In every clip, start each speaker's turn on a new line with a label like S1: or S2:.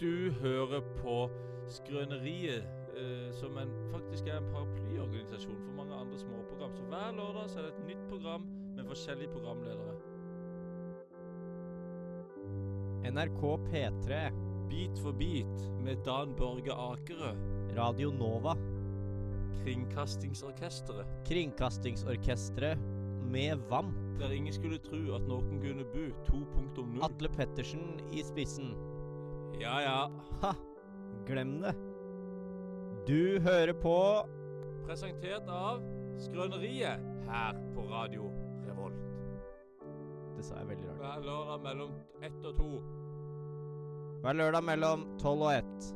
S1: Du hører på Skrøneriet, eh, som en, faktisk er en paraplyorganisasjon for mange andre småprogram. Så hver lørdag så er det et nytt program med forskjellige programledere.
S2: NRK P3,
S1: Bit for bit med Dan Børge Akerø,
S2: Radio Nova,
S1: Kringkastingsorkesteret.
S2: Kringkastingsorkestret med
S3: Mm.
S2: VAM,
S1: Der ingen skulle tro at noen kunne bu 2.0.
S2: Atle Pettersen i spissen.
S1: Ja ja.
S2: Ha! Glem det. Du hører på
S1: Presentert av Skrøneriet her på Radio Revolt.
S2: Det sa jeg veldig rart.
S1: Hver lørdag mellom ett og to.
S2: Hver lørdag mellom 12 og 1.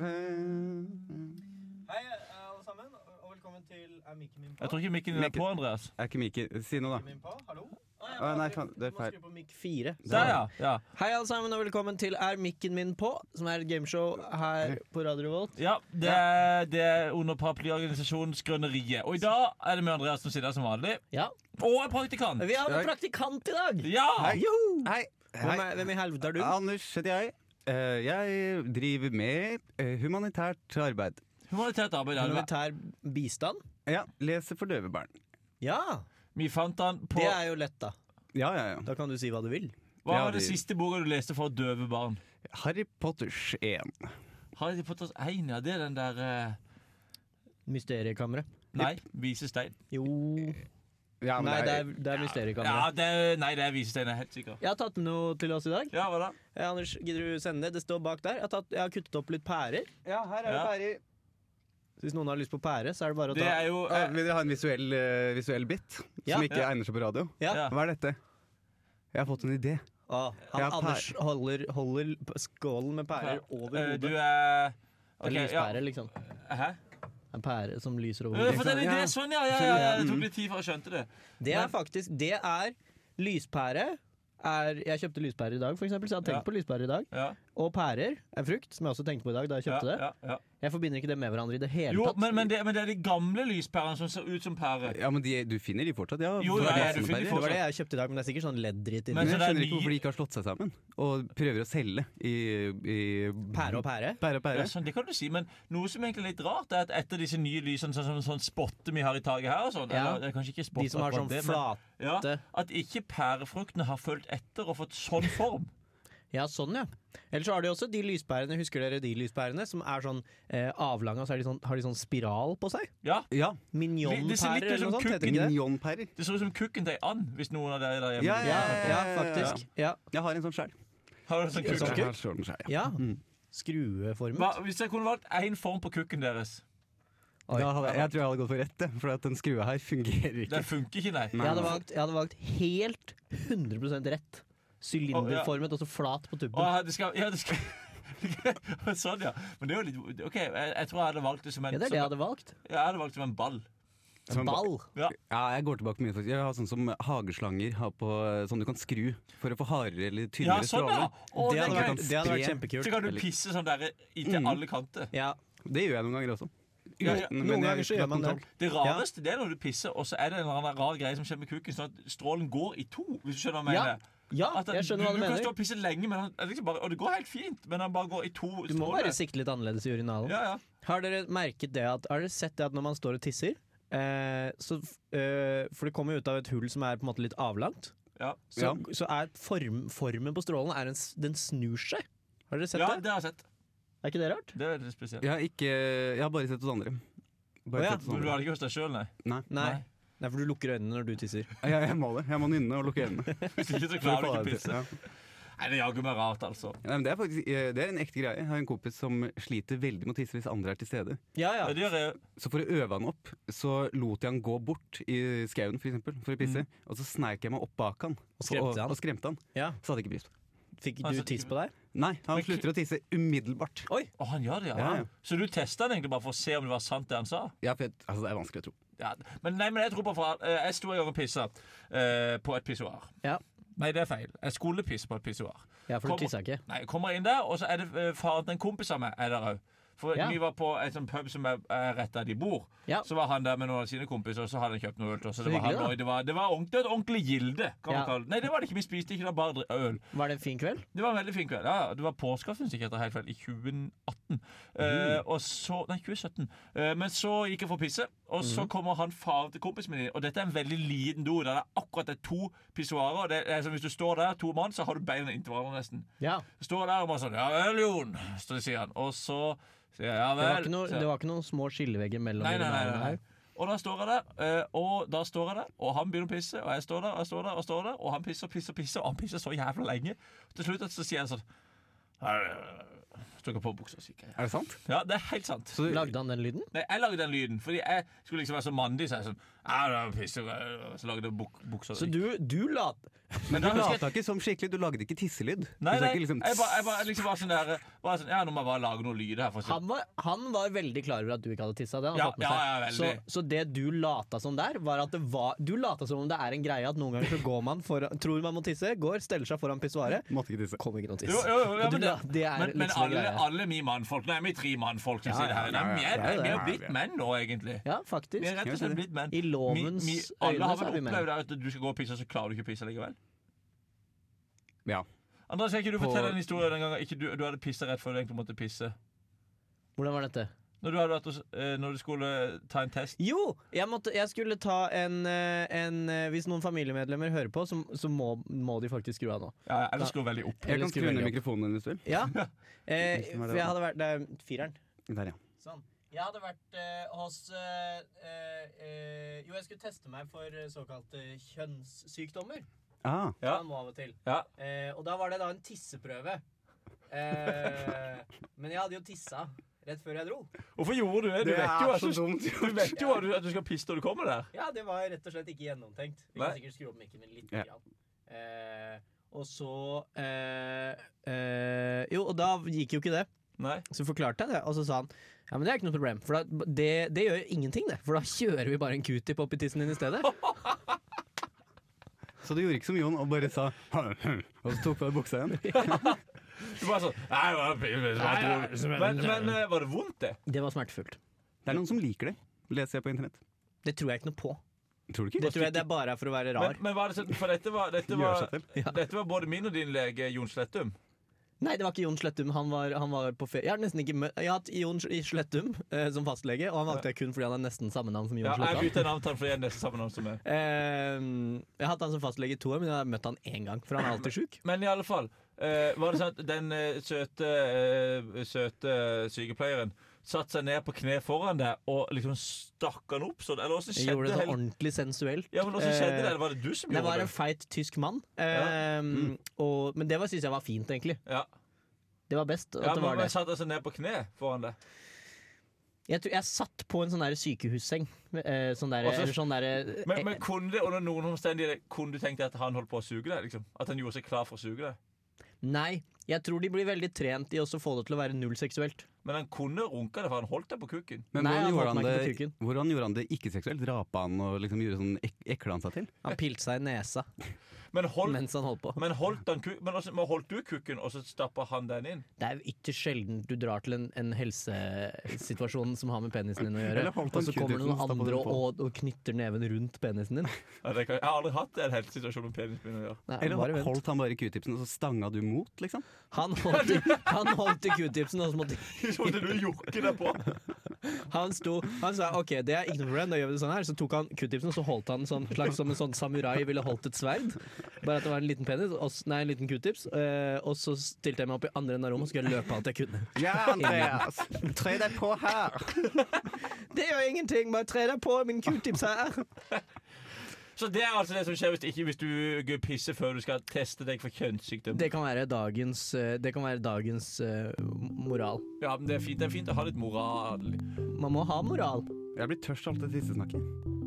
S3: Eh,
S4: Hei, eh, alle sammen, og og velkommen til Er mikken min på?
S5: Jeg tror ikke mikken din er
S3: Mikken.
S5: på, Andreas.
S3: Er ikke Mikkel Si noe,
S4: Mikken
S3: da.
S4: min på? Hallo? Å,
S3: Å, nei, faen, det er feil.
S4: Skru på mikk fire.
S5: Der, ja. ja.
S4: Hei, alle sammen, og velkommen til Er mikken min på? Som er et gameshow her på Radio Revolt.
S5: ja det, er, det er under paraplyorganisasjonen Skrøneriet. Og i dag er det med Andreas som sitter her som vanlig.
S4: Ja.
S5: Og en praktikant.
S4: Vi har
S3: Hei.
S4: en praktikant i dag!
S5: Ja!
S4: Joho!
S3: Hei.
S4: Hvem,
S3: Hei.
S4: er, hvem i helvete er du?
S3: Anders heter jeg. Eh, jeg driver med eh, humanitært arbeid.
S5: Humanitært arbeid. Alva.
S4: Humanitær bistand?
S3: Ja, leser for døve barn.
S4: Ja!
S5: Vi fant han på
S4: Det er jo lett, da.
S3: Ja, ja, ja.
S4: Da kan du si hva du vil.
S5: Hva
S3: Ja,
S5: var det
S3: de-
S5: siste boka du leste for døve barn?
S3: Harry Potters 1.
S5: Harry Potters 1, ja. Det er den der eh,
S4: Mysteriekammeret.
S5: Nei, Visestein.
S4: Jo
S3: Ja, men
S4: Nei, det
S3: det er-
S4: er, det er
S5: Ja,
S4: Mysteriekammeret.
S5: det er, nei, det er Visestein, jeg er helt sikker.
S4: Jeg har tatt med noe til oss i dag.
S5: Ja, hva da?
S4: Eh, Anders, gidder du sende det? Det står bak der. Jeg har, tatt, jeg har kuttet opp litt pærer.
S3: ja her er det
S5: Ja.
S3: ferdig.
S4: Så hvis noen har lyst på pære, så er det bare å
S5: Det
S4: ta
S5: er jo
S3: Ah,
S5: eh,
S3: vil dere ha en visuell, eh, visuell bit
S4: Ja.
S3: som ikke
S5: Ja.
S3: egner seg på radio?
S4: Ja.
S5: Ja.
S3: Hva er dette? Jeg har fått en idé.
S4: Å, han
S3: Ja, pære.
S4: Anders holder, holder p- skålen med pærer over
S5: eh, Du
S4: hodet.
S5: er
S4: En
S5: ok,
S4: lyspære, liksom.
S5: ja. Hæ?
S4: En pære som lyser over
S5: Eh,
S4: hodet.
S5: For den ideen, sånn, ja, ja, ja, ja. Det tok litt tid før jeg skjønte det.
S4: Det er
S5: Men-
S4: faktisk Det er lyspære. Er, jeg kjøpte lyspærer i dag, for eksempel, så jeg har tenkt
S5: Ja.
S4: på lyspærer i dag.
S5: Ja,
S4: Og pærer er frukt, som jeg også tenkte på i dag da jeg
S5: ja,
S4: kjøpte
S5: ja, ja.
S4: det. Jeg forbinder ikke det med hverandre i det hele
S5: Jo,
S4: tatt.
S5: men, men, det, men det er de gamle lyspærene som ser ut som pærer.
S3: Ja, men de, Du finner de fortsatt? Ja,
S5: Jo,
S3: Det var
S5: ja,
S3: det
S5: ja, du
S3: som
S5: finner de
S3: bare-
S4: det var det jeg kjøpte i dag, men det er sikkert sånn leddritt inni.
S5: Men-
S3: Men jeg
S5: så det er
S3: skjønner ikke
S5: ny-
S3: hvorfor de ikke har slått seg sammen og prøver å selge i, i
S4: Pære og pære.
S3: Pære og pære.
S5: Ja, sånn, det kan du si, men noe som egentlig er litt rart, er at etter disse nye lysene, sånn som sånn, spotte vi har i taket her og sånn,
S4: Ja.
S5: eller det er kanskje ikke spotte
S4: De som har
S5: akkurat
S4: sånn
S5: det, men-
S4: flate
S5: ja, At ikke pærefruktene har fulgt etter og fått sånn form.
S4: Ja, sånn ja. Eller så har de også de lyspærene, husker dere de lyspærene, som er sånn eh, avlange, og så er de sånn, har de sånn spiral på seg?
S5: Ja,
S3: Ja.
S5: Det ser litt
S4: Minionpærer
S5: ut
S4: eller
S5: som
S4: noe sånt, heter ikke det?
S3: Minionpærer.
S5: Det ser ut som kukken til ei and, hvis noen av dere der hjemme
S3: Ja, ja,
S4: Ja, faktisk. Ja.
S3: Jeg har en sånn sjæl.
S5: har en sånn
S4: Ja,
S5: kukk.
S4: sånn.
S3: Jeg har sånn skjær, ja.
S4: ja.
S3: Mm.
S5: Hva,
S4: Skrueformet.
S5: Hvis dere kunne valgt én form på kukken deres
S4: Oi.
S3: Da hadde, jeg- jeg tror jeg hadde gått for rett, jeg, for at den skrua her fungerer ikke.
S5: Den funker ikke, nei.
S4: Jeg hadde valgt, jeg hadde valgt helt 100 rett. Sylinderformet og så flat på
S5: Å,
S4: tuppen.
S5: ja, det skal, ja, det skal Sånn, ja. Men det er jo litt OK, jeg, jeg tror jeg hadde valgt det som en,
S4: Ja, det er det jeg
S5: som,
S4: hadde valgt.
S5: ja, jeg hadde valgt som en ball.
S3: Som-
S4: Ball.
S3: Ja, jeg går tilbake mye, faktisk. Jeg har sånn som hageslanger har på, sånn du kan skru for å få hardere eller
S5: Ja,
S3: tynnere
S5: sånn, ja!
S3: stråler.
S5: Å,
S4: Det
S5: det
S4: hadde
S5: er gøy.
S4: vært, det hadde vært
S3: Spre.
S5: Så
S4: kjempekult.
S5: kan du pisse sånn der i til
S3: Mm.
S5: alle kanter.
S4: Ja.
S3: Det gjør jeg noen ganger også.
S5: Ja, ja.
S4: Noen
S3: Uten- men jeg
S4: ganger
S3: vet
S4: så
S3: ikke
S4: gjør
S3: at
S4: man
S3: den
S4: det.
S3: tar-
S5: Det rareste det er når du pisser, og så er det en eller annen rar greie som skjer med kuken, sånn at strålen går i to. Hvis du skjønner hva jeg
S4: Ja,
S5: mener.
S4: ja
S5: At den-
S4: jeg skjønner hva du
S5: du kan
S4: mener.
S5: stå og pisse lenge, men han, liksom bare, og det går helt fint, men han bare går i to
S4: Du må bare sikte litt annerledes i urinalen.
S5: Ja, ja.
S4: Har dere merket det at Har dere sett det at når man står og tisser eh, så, f- eh, For det kommer jo ut av et hull som er på en måte litt avlangt.
S5: Ja,
S4: Så, så er form, formen på strålen er en, s- Den snur seg. Har dere sett
S5: ja
S4: det?
S5: det har jeg sett.
S4: Er ikke det rart?
S5: Det er litt spesielt.
S3: Jeg har, ikke, jeg har bare sett hos andre. Bare
S4: Å, ja.
S3: sett hos
S5: Men du
S3: andre.
S5: har det ikke hos deg sjøl, nei?
S3: Nei.
S4: Nei.
S5: Nei.
S4: Nei, for du lukker øynene når du tisser.
S3: Jeg, jeg må det. Jeg må nynne og lukke øynene.
S5: Hvis ikke, så
S3: For å
S5: klarer du
S3: få
S5: ikke
S3: det
S5: å
S3: til.
S5: pisse.
S3: Ja.
S5: Nei, det er jaggu meg rart, altså.
S3: Nei, men det, er faktisk, eh, det er en ekte greie. Jeg har en kompis som sliter veldig med å tisse hvis andre er til stede.
S4: Ja, ja.
S5: Ja, det gjør jeg jo.
S3: Så for å øve han opp, så lot jeg han gå bort i skauen for, eksempel, for å pisse. Og så sneik jeg meg opp bak han og
S4: skremte
S3: og,
S4: han?
S3: og skremte han.
S4: Ja.
S3: Så hadde jeg ikke pris på det.
S4: Fikk
S5: Altså,
S4: du tiss på deg?
S3: Nei, han
S5: Men ku-
S3: slutter å tisse umiddelbart.
S5: Å, han gjør det, ja.
S3: Ja, ja.
S5: Så du testa han egentlig bare for å se om det var sant, det han sa?
S3: Ja, for jeg, altså, det er vanskelig å tro.
S5: Ja, men, nei, men jeg tror på fra, eh, Jeg sto en gang og pissa eh, på et pissoar.
S4: Ja.
S5: Nei, det er feil. Jeg skulle pisse på et pissoar.
S4: Ja, for
S5: Kom-
S4: du tissa ikke.
S5: Nei, jeg kommer inn der, og så er det eh, faren til en kompis av meg er der òg. For
S4: Ja.
S5: vi var på en sånn pub som er, er rett der de bor.
S4: Ja.
S5: Så var han der med noen av sine kompiser, og så hadde han kjøpt noe øl til oss.
S4: Så
S5: og Det var, han,
S4: hyggelig, da.
S5: også. det var, det var ordentlig, et ordentlig gilde, kan
S4: Ja.
S5: man kalle det. Nei, det var det ikke. Vi spiste ikke, det var bare dri- øl.
S4: Var det en fin kveld?
S5: Det var en veldig fin kveld. Ja, det var påskeaften, hvis jeg ikke tar helt feil, i 2018.
S4: Mhm.
S5: Eh, og så, nei, 2017. Eh, men så gikk jeg for å pisse, og
S4: Mhm.
S5: så kommer han faren til kompisen min inn. Og dette er en veldig liten do. Der det er akkurat det er to pissoarer. Det er som Hvis du står der, to mann, så har du beina inntil hverandre nesten.
S4: Ja.
S5: Står der og bare sånn 'Ja vel, Jon', så sier han. Og så sier jeg 'ja
S4: Det var
S5: vel'.
S4: ikke, noe,
S5: sier han.
S4: det var ikke noen små skillevegger mellom
S5: Nei,
S4: de
S5: nei, nei,
S4: der
S5: nei.
S4: her.
S5: Og da står jeg der, eh, og da står jeg der, og han begynner å pisse, og jeg står der, og jeg står der, og står der, og han pisser, pisser, pisser, og han pisser så jævla lenge. Til slutt så sier jeg sånn Så tok jeg på buksa og så gikk jeg.
S3: Er det sant?
S5: Ja, det er helt sant.
S3: Så du,
S4: Lagde han den lyden?
S5: Nei, jeg lagde den lyden, fordi jeg skulle liksom være så mandig, så jeg sånn «Ja, da pisser jeg», og Så lagde jeg buk buksa
S4: Så du, du lat...
S3: men du
S5: da husker jeg-
S3: lata ikke som skikkelig? Du lagde ikke tisselyd?
S5: Nei,
S3: Du sa ikke
S5: nei, jeg
S3: liksom
S5: bare, jeg bare liksom var sånn der bare sånn, Ja, nå må jeg bare lage noe lyd her. For å se.
S4: Han var, han var veldig klar over at du ikke hadde tissa. Det hadde
S5: Ja,
S4: han fått med
S5: ja, ja,
S4: seg.
S5: veldig.
S4: så, så det du lata som der, var at det var Du lata som om det er en greie at noen ganger så går man foran Tror man må tisse, går, steller seg foran pissoaret.
S3: Måtte ikke tisse.
S4: Kommer ikke noe tiss.
S5: Jo, jo, jo, ja,
S4: Og du
S5: men det,
S4: la- det er
S5: men, men
S4: liksom en
S5: alle,
S4: greie.
S5: alle vi mannfolk Nei, vi er tre mannfolk som
S4: Ja,
S5: sitter
S4: ja,
S3: ja,
S5: her. Nei, vi er-
S3: ja, ja, ja,
S5: Vi er jo
S3: ja,
S5: blitt
S3: ja.
S5: menn nå, egentlig.
S4: Ja,
S5: Vi er
S4: faktisk.
S5: rett og slett blitt menn.
S4: I lovens
S5: Mi- mi- Alle
S4: øyne
S5: har
S4: så
S5: vel
S4: er vi menn.
S5: opplevd at du skal gå og pisse, så klarer du ikke å pisse likevel?
S3: Ja.
S5: Andreas, kan ikke du
S3: På-
S5: fortelle en historie den gangen ikke du, du hadde pissa rett før du egentlig måtte pisse?
S4: Hvordan var dette?
S5: Når du, hadde vært hos, eh, når du skulle ta en test?
S4: Jo, jeg, måtte, jeg skulle ta en, eh, en eh, Hvis noen familiemedlemmer hører på, så, så må, må de faktisk skru av nå.
S5: Ja, eller skru veldig opp.
S3: Jeg
S4: Eller
S3: kan
S4: skru
S3: skru
S4: veldig
S3: ned
S4: opp.
S3: mikrofonen din hvis du vil.
S4: Ja. Eh,
S3: Hvilken var det
S4: for jeg
S3: da?
S4: hadde vært Det er fireren.
S3: Der, ja.
S4: Sånn. Jeg hadde vært eh, hos eh, eh, eh, Jo, jeg skulle teste meg for eh, såkalte kjønnssykdommer.
S3: Ah,
S5: Ja.
S4: Man må av og til.
S5: Ja.
S4: Eh, og da var det da en tisseprøve. Eh, men jeg hadde jo tissa rett før jeg dro.
S5: Hvorfor gjorde du det? Du vet jo at du,
S3: dumt.
S5: du, vet jo at du, at du skal pisse når du kommer der.
S4: Ja, det var rett og slett ikke gjennomtenkt. Vi
S5: Nei.
S4: kan sikkert skru opp mikken min litt.
S3: Ja.
S4: Grann. Eh, og så eh, eh, Jo, og da gikk jo ikke det.
S5: Nei.
S4: Så forklarte jeg det, og så sa han ja, men det er ikke noe problem, for da, det, det gjør jo ingenting, det. For da kjører vi bare en q-tip opp i tissen din i stedet.
S3: Så du gjorde ikke som Jon og bare sa Og så tok på deg buksa igjen?
S5: Du bare sånn Nei, det var- men, men eh, var det vondt, det?
S4: Det var smertefullt.
S3: Det er noen som liker det, leser jeg på internett.
S4: Det tror jeg ikke noe på.
S3: Tror du ikke?
S4: Det tror jeg det er bare for å være rar.
S5: Men, men var det sånn, for dette var, dette,
S3: Gjør
S5: var,
S3: seg til.
S5: dette var både min og din lege, Jon Slettum.
S4: Nei, det var ikke Jon Slettum. Han var, han var på ferie. Jeg har nesten ikke møtt Jeg har hatt Jon Slettum eh, som fastlege, og han valgte jeg kun fordi han er nesten samme navn som Jon
S5: Ja, jeg
S4: Slettum.
S5: bytta navn til han fordi jeg er nesten samme navn som meg.
S4: Eh, jeg har hatt han som fastlege i to år, men jeg har møtt han én gang, for han er alltid sjuk.
S5: Men i alle fall, eh, var det sånn at den eh, søte, eh, søte sykepleieren satte seg ned på kne foran deg og liksom stakk han opp sånn? Eller åssen
S4: Jeg gjorde det
S5: skjedde det?
S4: sånn ordentlig sensuelt.
S5: Ja, men hvordan skjedde
S4: Eh,
S5: det? Eller var det du som
S4: Det
S5: gjorde
S4: var
S5: det? Mm.
S4: en feit tysk mann, eh, og, men det var- syns jeg var fint, egentlig.
S5: Ja,
S4: Det var best. At
S5: ja
S4: det
S5: men
S4: var det.
S5: man satte seg ned på kne foran deg.
S4: Jeg, tror, jeg satt på en sånn der sykehusseng. Eh, sånn der,
S5: Og så-
S4: eller sånn der,
S5: Men, men kunne det under noen omstendigheter Kunne du tenkt deg at han holdt på å suge deg? liksom? At han gjorde seg klar for å suge deg?
S4: Nei, jeg tror de blir veldig trent i også å få det til å være null seksuelt.
S5: Men han kunne runka det, for han holdt deg på kukken.
S3: Men
S4: Nei, han
S3: hvordan,
S4: holdt meg
S3: gjorde
S4: ikke
S3: han
S4: på
S3: det, hvordan gjorde han det ikke-seksuelt? Drapa han og liksom gjorde sånn ek ekla han seg til?
S4: Han pilte seg i nesa
S5: Men holdt,
S4: mens han holdt på.
S5: men holdt, han, ku- men også, men holdt du kukken, og så stappa han den inn?
S4: Det er jo ytterst sjelden du drar til en, en helsesituasjon som har med penisen din å gjøre,
S3: Eller holdt
S4: og så
S3: han
S4: kommer det noen
S3: Q-tipsen og
S4: andre
S3: stappet den
S4: og, og, knytter neven rundt penisen din.
S5: Ja, det kan, jeg har aldri hatt en helsesituasjon med penis min å gjøre.
S4: Nei, bare
S3: Eller
S4: vent.
S3: holdt han bare q-tipsen, og så stanga du mot, liksom?
S4: Han holdt, i- han holdt i q-tipsen, og så måtte
S5: Som om du jokker deg på.
S4: han sto Han sa OK, det er ikke noe problem, da gjør vi det sånn her. Så tok han q-tipsen, og så holdt han den sånn, slags som en sånn samurai ville holdt et sverd. Bare at det var en liten penis, og, s- nei, en liten q-tips, eh, og så stilte jeg meg opp i andre enden av rommet og skulle løpe alt jeg kunne.
S3: Ja, Andreas! Trøy deg på her!
S4: Det gjør ingenting, bare tre deg på min q-tips her.
S5: Så det er altså det som skjer hvis, ikke, hvis du pisser før du skal teste deg for kjønnssykdom.
S4: Det kan være dagens, eh, det kan være dagens eh, moral.
S5: Ja, men det er fint, det er fint å ha litt moral.
S4: Man må ha moral.
S3: Jeg blir tørst av alt det tissesnakket.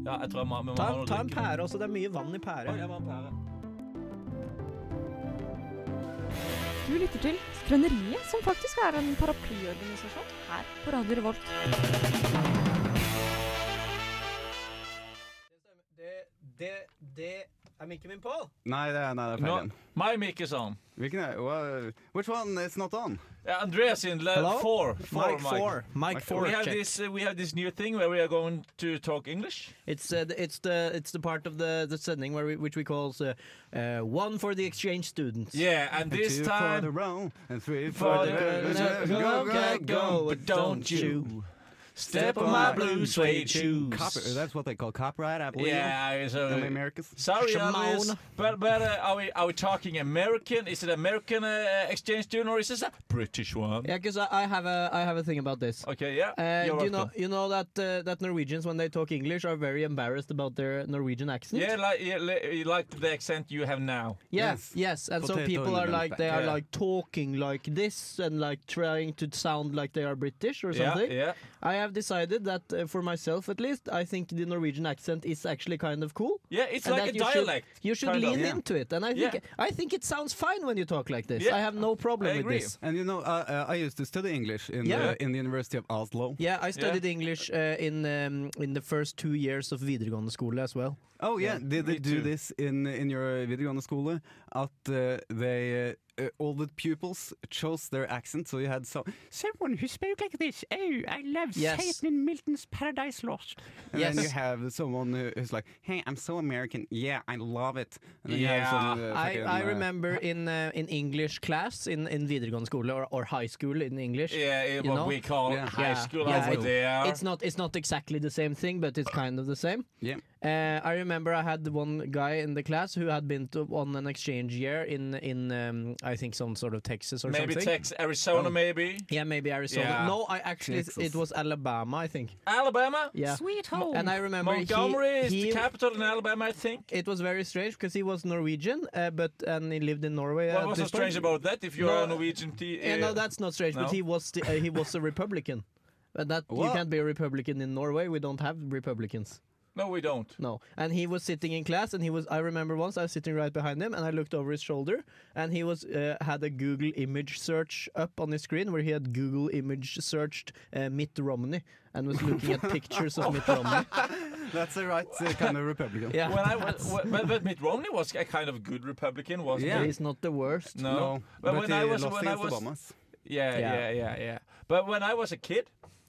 S5: Ja, jeg tror jeg må, men man
S4: Ta,
S5: må ha noe å
S4: ta en
S5: drikke.
S4: pære også, det er mye vann i pære.
S5: Å, jeg var en pære.
S6: Du lytter til Skrøneriet, som faktisk er en paraplyorganisasjon her på Radio Revolt.
S4: Det, det, det Er mikken min på?
S3: Nei, det er, nei, det er feil
S5: Nå-
S3: igjen.
S5: My mic is on.
S3: Hvilken er wha- Which one is not on?
S5: Yeah, Andreas in le-
S4: Hello?
S5: four. four
S4: Mike four. Mike
S3: Mike
S4: four.
S5: we have
S4: check.
S5: this. Uh, we have this new thing where we are going to talk English.
S4: It's uh, the- it's the it's the part of the the sending where we, which we call uh, uh, one for the exchange students.
S5: Yeah, and this
S3: Two for the
S5: time
S3: round, and three
S5: for
S3: for the
S5: the go go go, but don't you step on my blue suede shoes.
S3: Copy, oh, that's what they call copyright, I believe.
S5: Yeah, so
S3: In the Americas.
S5: Sorry,
S4: Shimon.
S5: Alice, but but uh, are we are we talking American? Is it American uh, exchange student or is this a British one?
S4: yeah. Because I, I have a I have a thing about this.
S5: Okay, yeah.
S4: Uh,
S5: you're
S4: you know,
S5: welcome.
S4: you know that uh, that Norwegians when they talk English are very embarrassed about their Norwegian accent.
S5: Yeah, like yeah, li- like the accent you have now.
S4: Yes,
S3: Yes.
S4: yes, and so
S3: Potato
S4: people
S3: in
S4: are
S3: the
S4: like they are
S5: Yeah.
S4: like talking like this and like trying to sound like they are British or
S5: Yeah,
S4: something.
S5: yeah.
S4: I have decided that uh, for myself at least, I think the Norwegian accent is actually kind of cool.
S5: Yeah, it's
S4: and
S5: like
S4: that
S5: a
S4: you should-
S5: dialect.
S4: you should
S5: kind of.
S4: lean
S3: Yeah.
S4: into it, and I think I think it sounds fine when you talk like this.
S5: Yeah,
S4: I have no problem
S5: I
S4: with
S5: agree.
S4: this.
S3: And you know, uh, uh, I used to study English in,
S4: Yeah.
S3: the, in the University of Oslo.
S4: Yeah, I studied English uh, in um, in the first two years of videregående skole as well.
S3: Oh yeah, did
S5: me
S3: they do
S5: too.
S3: this in in your videregående skole? At uh, they uh, all the pupils chose their accent, so you had so someone who spoke like this. Oh, I love
S4: Yes.
S3: Satan in Milton's Paradise Lost. And then you
S4: Yes.
S3: have someone who, who's like, "Hey, I'm so American. Yeah, I love it." And then you have
S5: Yeah.
S3: some,
S4: I,
S3: uh, fucking,
S4: I
S3: uh,
S4: remember in uh, in English class in, in videregående skole or, or high school in English.
S5: Yeah, yeah,
S4: You
S5: what
S4: know?
S5: we call
S3: Yeah.
S5: high
S4: Yeah,
S5: school
S4: yeah,
S5: over
S4: it-
S5: there.
S4: It's not it's not exactly the same thing, but it's kind of the same.
S3: Yeah.
S4: Uh, I remember I had one guy in the class who had been to, on an exchange year in in um, I think some sort of Texas or
S5: maybe
S4: something. Oh.
S5: Texas, Arizona, maybe
S4: yeah, maybe Arizona.
S5: Yeah.
S4: No, I actually
S3: Texas.
S4: it was Alabama, I think.
S5: Alabama.
S4: Yeah. Sweet home. And I remember he-
S5: Montgomery is
S4: he-
S5: the capital in Alabama, I think.
S4: It was very strange because he was Norwegian, uh, but and he lived in Norway.
S5: What
S4: at
S5: was so
S4: this point.
S5: strange about that? If you're
S4: No,
S5: a Norwegian, t-
S4: Yeah, no, that's not strange.
S5: No?
S4: But he was the, uh, he was a Republican. But that you
S3: What?
S4: can't be a Republican in Norway. We don't have Republicans.
S5: no, we don't.
S4: No. And he was sitting in class, and he was. I remember once I was sitting right behind him, and I looked over his shoulder, and he was uh, had a Google image search up on his screen where he had Google image searched uh, Mitt Romney and was looking at pictures of Mitt Romney.
S3: That's the right uh, kind of Republican.
S4: Yeah,
S5: When I was, wh- but, but Mitt Romney was a kind of good Republican, wasn't
S3: Yeah.
S5: he?
S4: he's not the worst.
S5: No.
S3: No,
S5: but
S3: but,
S5: when
S3: he
S5: I was,
S3: lost
S5: when I
S3: against
S5: was,
S3: Obamas.
S5: yeah,
S4: Yeah.
S5: yeah, yeah, yeah. But when I was a kid,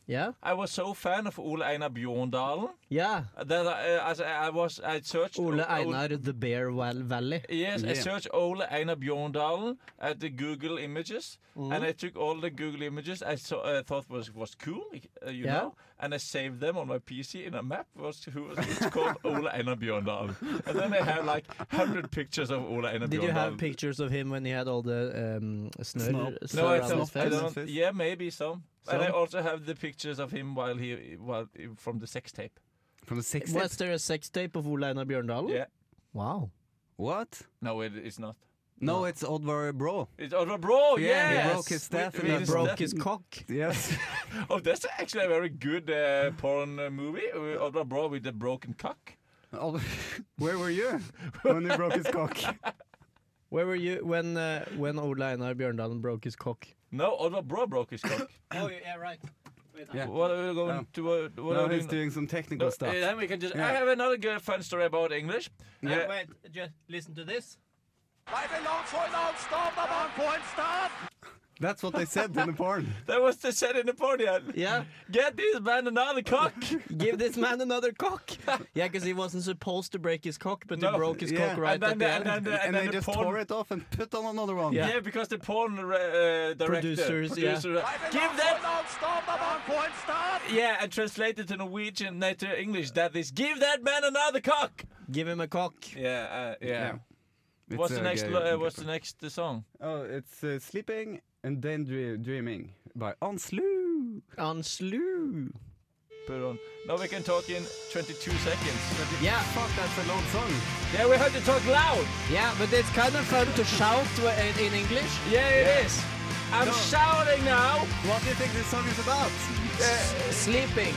S4: Yeah,
S5: I was so fan of Ole Einar Bjørndalen
S4: yeah.
S5: that I, uh, as I, I was, I searched
S4: Ole
S5: O- O-
S4: Einar, the Bear Val- Valley.
S5: Yes, I
S3: Yeah.
S5: searched Ole Einar Bjørndalen at the Google images,
S4: Mm-hmm.
S5: and I took all the Google images I saw, uh, thought was was cool, uh, you
S4: Yeah.
S5: know, and I saved them on my PC in a map. Was who was it's called Ole Einar Bjørndalen, and then I have like hundred pictures of Ole Einar Bjørndalen.
S4: Did you have pictures of him when he had all the um, snør,
S3: Snow.
S4: snør
S5: No, I
S4: around his
S5: don't, I
S4: face?
S5: don't.
S3: Face.
S5: Yeah, maybe some. And I
S4: Some?
S5: also have the pictures of him while he while from the sex tape.
S3: From the 60s.
S4: Was there a sex tape of Ole Einar Bjørndalen?
S5: Yeah.
S4: Wow.
S3: What?
S5: No, it, it's not.
S3: No, it's Oddvar Brå.
S5: It's Oliver Bro.
S3: Yeah,
S5: yes.
S3: he broke his staff and
S5: We-
S3: he
S5: we-
S3: broke
S5: that-
S3: his
S4: cock.
S3: Yes.
S5: Oh, that's actually a very good uh, porn uh, movie. Uh, Oliver Bro with the broken cock.
S3: Odd- Where were you when he broke his cock?
S4: Where were you when uh, when Ole Einar Bjørndalen broke his cock?
S5: No, oh, Oliver Bro broke his cock.
S4: Oh yeah, right.
S3: Yeah.
S5: what are we going
S3: No.
S5: to? Uh, what
S3: No,
S5: are we
S3: he's
S5: doing?
S3: doing some technical
S5: No, uh,
S3: stuff.
S5: then we can just. I
S3: Yeah.
S5: have another good fun story about English. Uh,
S4: Wait, just listen to this.
S3: That's what they said in the porn.
S5: that was the set in the party.
S4: Yeah,
S5: Get this man another cock.
S4: give this man another cock. yeah, because he wasn't supposed to break his cock, but
S5: No,
S4: he broke his
S3: yeah.
S4: cock right
S5: and then,
S4: at the end.
S5: and then, and
S3: And
S5: then
S3: they
S5: the
S3: just
S5: er porn
S3: tore it off and put on another one.
S5: Yeah, because the porn uh, director,
S4: Producers,
S5: producer, uh, give that. Yeah, and translated to Norwegian, not to English. That is, give that man another cock.
S4: Give him a cock.
S5: Yeah, uh, yeah.
S3: Yeah. It's
S5: What's
S3: a
S5: the next?
S3: gay-
S5: lo- uh, what's the next uh, song?
S3: Oh, it's uh, Sleeping and Then Dre- Dreaming by Anslu.
S4: On slew.
S5: Put on. Now we can talk in 22 seconds.
S4: Yeah,
S3: Fuck, that's a long song.
S5: Yeah, we have to talk loud.
S4: yeah, but it's kind of fun to shout wh- in- in English.
S5: Yeah, it is. I'm shouting now
S3: What do you think this song is about?
S4: Sleeping.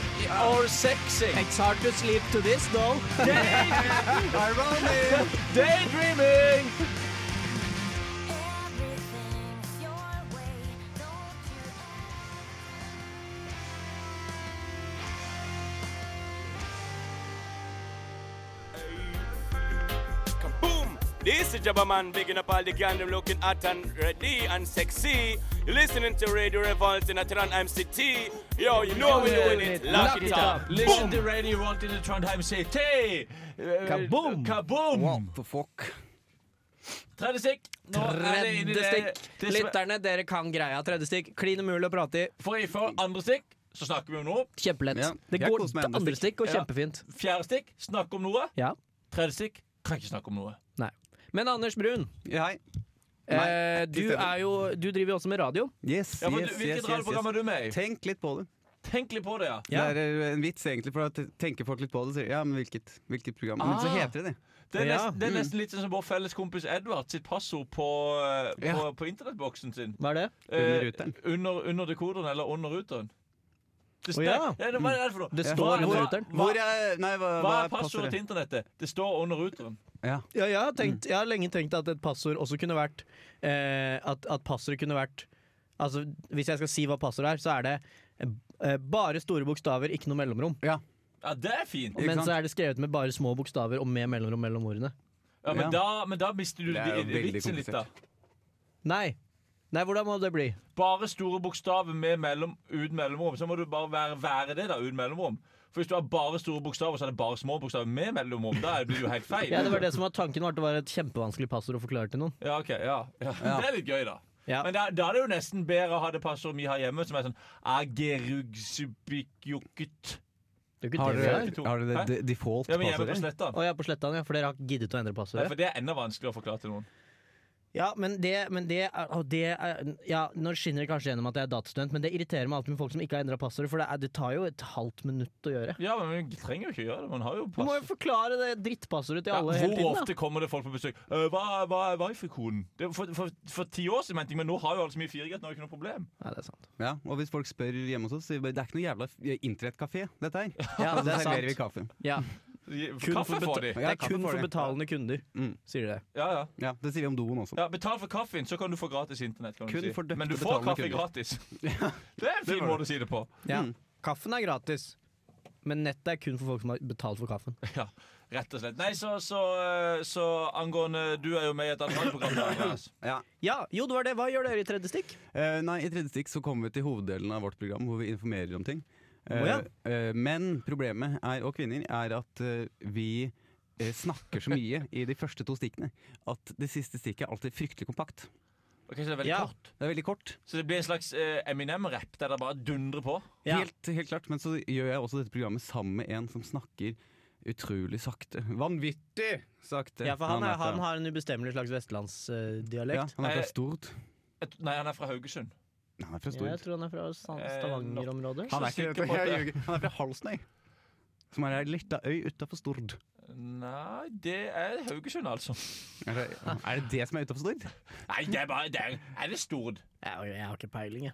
S5: or sexing,
S4: It's hard to sleep to this though.
S3: Ironic!
S5: daydreaming.
S7: Everything's your way, don't you
S8: Kaboom! This is Jabba Man, bigging up all the gang, looking at and ready and sexy. You're listening to Radio Revolt in Atran MCT. Yo, you know we're doing it. Lock, it up.
S5: Listen to Radio Rolt in the Trondheim City! Eh,
S4: Kaboom!
S5: Kaboom!
S3: What the fuck?
S5: Tredje stikk. Nå er det inn
S4: Tredje
S5: i det-
S4: stikk.
S5: det som er-
S4: Lytterne, dere kan greia. Tredje stikk. Klin umulig å prate i.
S5: For i for andre stikk så snakker vi om noe.
S4: Kjempelett.
S3: Ja,
S4: Det
S3: jeg
S4: går til
S3: koser meg med
S4: andre
S3: andre
S4: stikk, og
S5: Ja.
S4: kjempefint.
S5: Fjerde stikk snakk om noe.
S4: Ja.
S5: Tredje stikk kan ikke snakke om noe.
S4: Nei. Men Anders Brun,
S3: Ja, hei.
S4: eh, du,
S3: stemmer.
S4: er jo, du driver jo også med radio.
S3: Yes,
S5: Ja, men
S3: yes,
S5: du,
S3: yes,
S5: hvilket
S3: yes,
S5: radioprogram
S3: yes.
S5: er du med i?
S3: Tenk litt på det.
S5: Tenk litt på det, ja.
S4: Ja.
S3: Det er eh, en vits, egentlig, for da tenker folk litt på det. og Sier, ja, men hvilket, hvilket program? Men så
S5: Ah.
S3: heter det det.
S5: Det er,
S4: Ja.
S5: nesten, det er nesten litt sånn som vår felles kompis Edvard sitt passord på, eh, på,
S3: Ja.
S5: på internettboksen sin.
S4: Hva er det?
S5: Eh,
S3: ruteren.
S5: under, under dekoderen eller under ruteren. Det
S4: Å, ja.
S5: står- Nei, Hva er det for noe?
S4: Det
S5: Hva-
S4: står under
S5: hva-
S4: ruteren.
S3: Hvor
S5: Hva,
S3: er, nei, hva,
S5: hva er passordet til internettet? Det står under ruteren.
S3: Ja.
S4: Ja, jeg, har tenkt, jeg har lenge tenkt at et passord også kunne vært eh, At, at passordet kunne vært Altså, Hvis jeg skal si hva passordet er, så er det eh, bare store bokstaver, ikke noe mellomrom.
S5: Ja, det er fint.
S3: Ikke
S4: Men
S3: sant?
S4: så er det skrevet med bare små bokstaver og med mellomrom mellom ordene.
S5: Ja, men,
S3: Ja.
S5: Da, men da mister du
S3: Det er jo
S5: vi-
S3: veldig
S5: vitsen litt, da.
S4: Nei. Nei, hvordan må det bli?
S5: Bare store bokstaver med mellom, uten mellomrom. Så må du bare være, være det, da, uten mellomrom. For hvis du har bare store bokstaver, så er det bare små bokstaver med mellomrom. Da blir det jo helt feil.
S4: Ja, det var det som var Tanken var at det var et kjempevanskelig passord å forklare til noen.
S5: Ja, ok, ja, ja. Det er litt gøy, da.
S4: Ja.
S5: Men da, da er det jo nesten bedre å ha det passordet vi har hjemme, som er sånn Agerugsubikjokket.
S4: Det er jo ikke
S3: Har
S4: det vi
S5: dere-
S4: har.
S3: dere, har dere
S5: Hæ?
S3: de- default
S5: Ja, men hjemme på
S3: passordet?
S5: sletta.
S4: Å ja, på Slettan, ja. For dere har ikke giddet å endre
S5: Nei,
S4: passordet.
S5: for det er enda vanskeligere å forklare til noen.
S4: Ja, men det, men det, er, og det er, ja, Nå skinner det kanskje gjennom at jeg er datastudent, men det irriterer meg alltid med folk som ikke har endra passordet, for det, er, det tar jo et halvt minutt å gjøre.
S5: Ja, men Vi trenger jo ikke gjøre det. Man har jo
S4: Du må jo
S5: pass.
S4: forklare det drittpassordet til
S5: Ja,
S4: alle hele
S5: hvor
S4: tiden. Da.
S5: ofte kommer det folk på besøk? «Øh, hva hva er wifi-koden? Det- For, for, for ti år siden, mente jeg, men nå har jo alle så mye 4G at nå er det ikke noe problem.
S4: Nei, det er sant.
S3: Ja, og hvis folk spør hjemme hos oss, sier vi bare det er ikke noe jævla f- internettkafé, dette her.
S4: Ja,
S3: Og
S4: det
S3: så
S4: er
S3: serverer vi
S4: sant.
S3: kaffe.
S4: Ja. Kun
S5: Kaffe
S4: for
S5: får
S4: beta-
S5: de.
S4: Det
S3: Ja,
S4: er
S3: kaffe
S4: kun
S3: får
S4: for
S3: de.
S4: betalende kunder,
S3: Mm.
S4: sier de det.
S5: Ja, ja.
S3: Ja, det sier vi om doen også.
S5: ja, Betal for kaffen, så kan du få gratis internett. kan
S3: Kun
S5: du si.
S3: for døpte
S5: Men du får
S3: betalende
S5: kaffe
S3: kunder.
S5: gratis. Det er en fin
S3: var
S5: måte å si det på.
S4: Ja.
S3: Mm.
S4: Kaffen er gratis, men nettet er kun for folk som har betalt for kaffen.
S5: Ja, rett og slett. Nei, så, så, eh, så angående Du er jo med i et annet radioprogram. da, Andreas.
S3: Ja.
S4: Ja, jo det var det. Hva gjør dere i tredje stikk?
S3: Eh, nei, I tredje stikk så kommer vi til hoveddelen av vårt program hvor vi informerer om ting. Eh,
S4: Å ja.
S3: eh, men problemet er, og kvinner er at eh, vi eh, snakker så mye i de første to stikkene at det siste stikket er alltid fryktelig kompakt.
S5: Ok, så det er veldig
S4: Ja.
S5: kort.
S3: Det er veldig kort.
S5: Så det blir en slags eh, Eminem-rapp der det bare dundrer på.
S4: Ja.
S3: Helt, helt klart. Men så gjør jeg også dette programmet sammen med en som snakker utrolig sakte. Vanvittig sakte.
S4: Ja, for eh, han, er,
S3: fra-
S4: han har en ubestemmelig slags
S3: ja,
S4: vestlandsdialekt.
S3: han er
S5: Eh,
S3: fra Stord.
S5: Et, nei, han er fra Haugesund.
S3: Nei, Han er fra
S4: jeg
S3: Stord.
S4: tror han er fra Stan-
S5: Eh,
S4: Stavanger-området.
S3: Han
S5: så
S3: er ikke
S5: sikker på at
S3: jeg
S5: det-
S3: ljuger. Han er fra Halsnøy. Som er ei lita øy utafor Stord.
S5: Nei, det er Haugesund, altså.
S3: Er det, er det det som er utafor Stord?
S5: Nei, det er bare det er, er det Stord?
S4: Jeg, jeg har ikke peiling, jeg.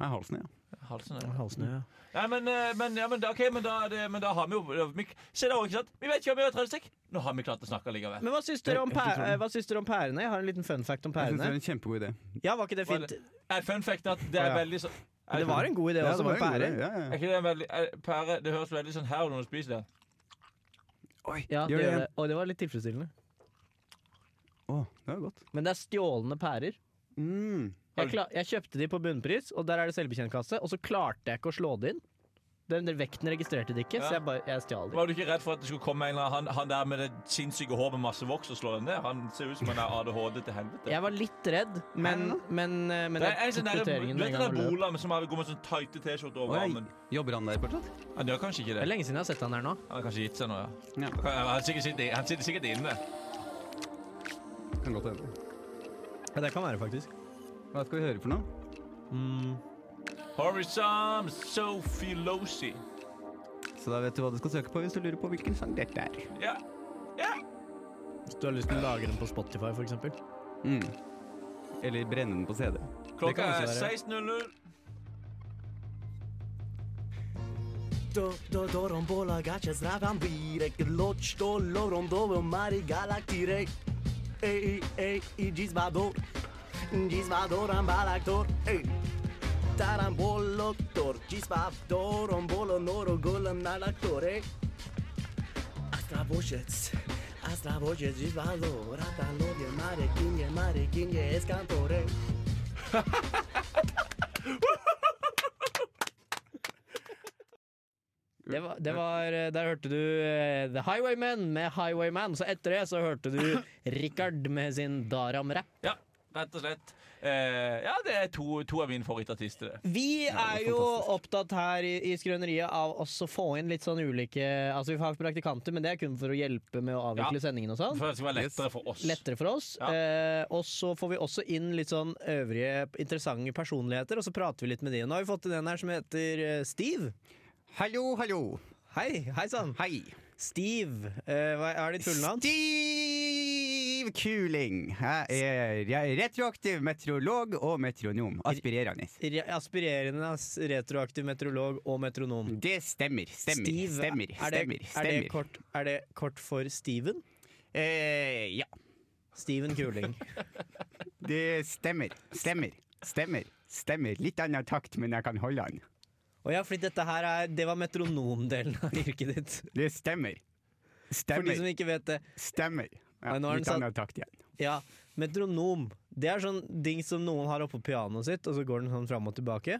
S3: Nei, Halsnøy, ja.
S5: Halsen er
S4: Halsnø, ja.
S5: Nei, men, eh, men, ja, men, da- ok, men, da, er det, men da har vi jo vi, Se der, ikke sant? Vi vet ikke om vi har tredje stikk. Nå har vi klart å snakke likevel.
S4: Men hva syns dere om,
S3: Det er helt
S4: pæ- eh, hva syns dere om pærene? Jeg har en liten fun fact om
S3: Jeg synes det
S4: pærene.
S3: er en kjempegod idé.
S4: Ja, var ikke det
S5: Var
S4: fint?
S5: Nei, Eh, fun fact er at det er
S3: Å, ja.
S5: veldig sånn
S4: Men det var en god idé
S3: Ja,
S4: også,
S3: det var
S4: med
S3: en god
S4: pære.
S3: idé. Ja, ja,
S5: Er
S3: ja.
S5: ikke det en veldig er, Pære, det høres veldig sånn her ut når du spiser det.
S3: Oi,
S4: Ja, det
S3: gjør det
S4: gjør
S3: igjen.
S4: det. Og det var litt tilfredsstillende.
S3: Å, det var godt.
S4: Men det er stjålne pærer.
S3: Mm.
S4: Jeg, kla jeg kjøpte de på bunnpris, og der er det selvbetjentkasse. Og så klarte jeg ikke å slå det inn. Den der vekten registrerte det ikke,
S5: Ja.
S4: så jeg, bare, jeg stjal de.
S5: Var du ikke redd for at det skulle komme en eller annen han, han der med det sinnssyke håret med masse voks og slå den ned? Han ser ut som han er ADHD til helvete.
S4: Jeg var litt redd, men, men, eh, men
S5: det er
S4: jeg
S5: en sånn
S4: tok
S5: der,
S4: kvitteringen med
S5: du vet
S4: en
S5: den
S4: gang.
S5: der
S4: og løp.
S5: Bolam som har- går med sånn tighte T-skjorte over
S3: Oi,
S5: armen?
S3: jobber han der fortsatt?
S5: Han gjør kanskje ikke
S4: Det er
S5: det.
S4: lenge siden jeg har sett han her nå.
S5: Han har kanskje gitt seg nå, ja.
S3: Ja.
S5: Han, han, sikkert sitter, han sitter sikkert inne.
S3: Kan godt hende.
S4: Ja, det kan være, faktisk.
S3: Hva skal vi høre for noe?
S5: Horizon Sophie Losey.
S3: Så da vet du hva du skal søke på hvis du lurer på hvilken sang dette er.
S5: Ja.
S4: Hvis du har lyst til å lage den på Spotify, for eksempel.
S3: Mm. Eller brenne den på CD.
S5: Klokka
S4: kan
S5: er
S4: også være.
S5: 16.00.
S9: Do, do rozbolagać zrabiam wirek Loć to lorą do mary galaktirek Ej, ej, i dziś bador Dziś badoram balaktor Ej Taram boloktor Dziś badoram bolo noro golem nalaktor Ej Astra bożec Astra voce Gisvaldo, ratalo del mare, king mare, king es cantore.
S4: Det var, det var Der hørte du eh, The Highwaymen med Highwayman. Så etter det så hørte du Richard med sin Daram-rapp.
S5: Ja, rett og slett. Eh, ja, det er to, to av mine favorittartister. det.
S4: Vi er jo opptatt her i, i Skrøneriet av også å få inn litt sånn ulike Altså Vi har praktikanter, men det er kun for å hjelpe med å avvikle
S5: Ja.
S4: sendingen og sånn.
S5: For det skal være lettere for oss.
S4: Lettere for oss.
S5: Ja.
S4: Eh, og så får vi også inn litt sånn øvrige interessante personligheter, og så prater vi litt med de. Nå har vi fått inn en her som heter eh, Steve.
S3: Hallo, hallo.
S4: Hei, hei sann.
S3: Hei.
S4: Steve. Eh, hva er ditt fulle navn?
S3: Stiv Kuling. Jeg er, jeg er retroaktiv meteorolog og metronom. Aspirerende.
S4: Re- Aspirerende ass- retroaktiv meteorolog og metronom.
S3: Det stemmer. Stemmer.
S4: Steve,
S3: stemmer.
S4: er det, Er
S3: stemmer.
S4: det,
S3: stemmer.
S4: kort, er det kort for Steven?
S3: Eh, ja.
S4: Steven Kuling.
S3: Det stemmer. Stemmer. Stemmer. Stemmer. Litt annen takt, men jeg kan holde den.
S4: Og ja, fordi dette her er, Det var metronomdelen av yrket ditt.
S3: Det stemmer.
S4: For de
S3: Stemmer.
S4: som ikke vet det.
S3: Stemmer. Ja,
S4: Nei, nå har den
S3: litt
S4: satt-
S3: annen takt igjen.
S4: Ja, Metronom. Det er sånn ding som noen har oppå pianoet sitt, og så går den sånn fram og tilbake.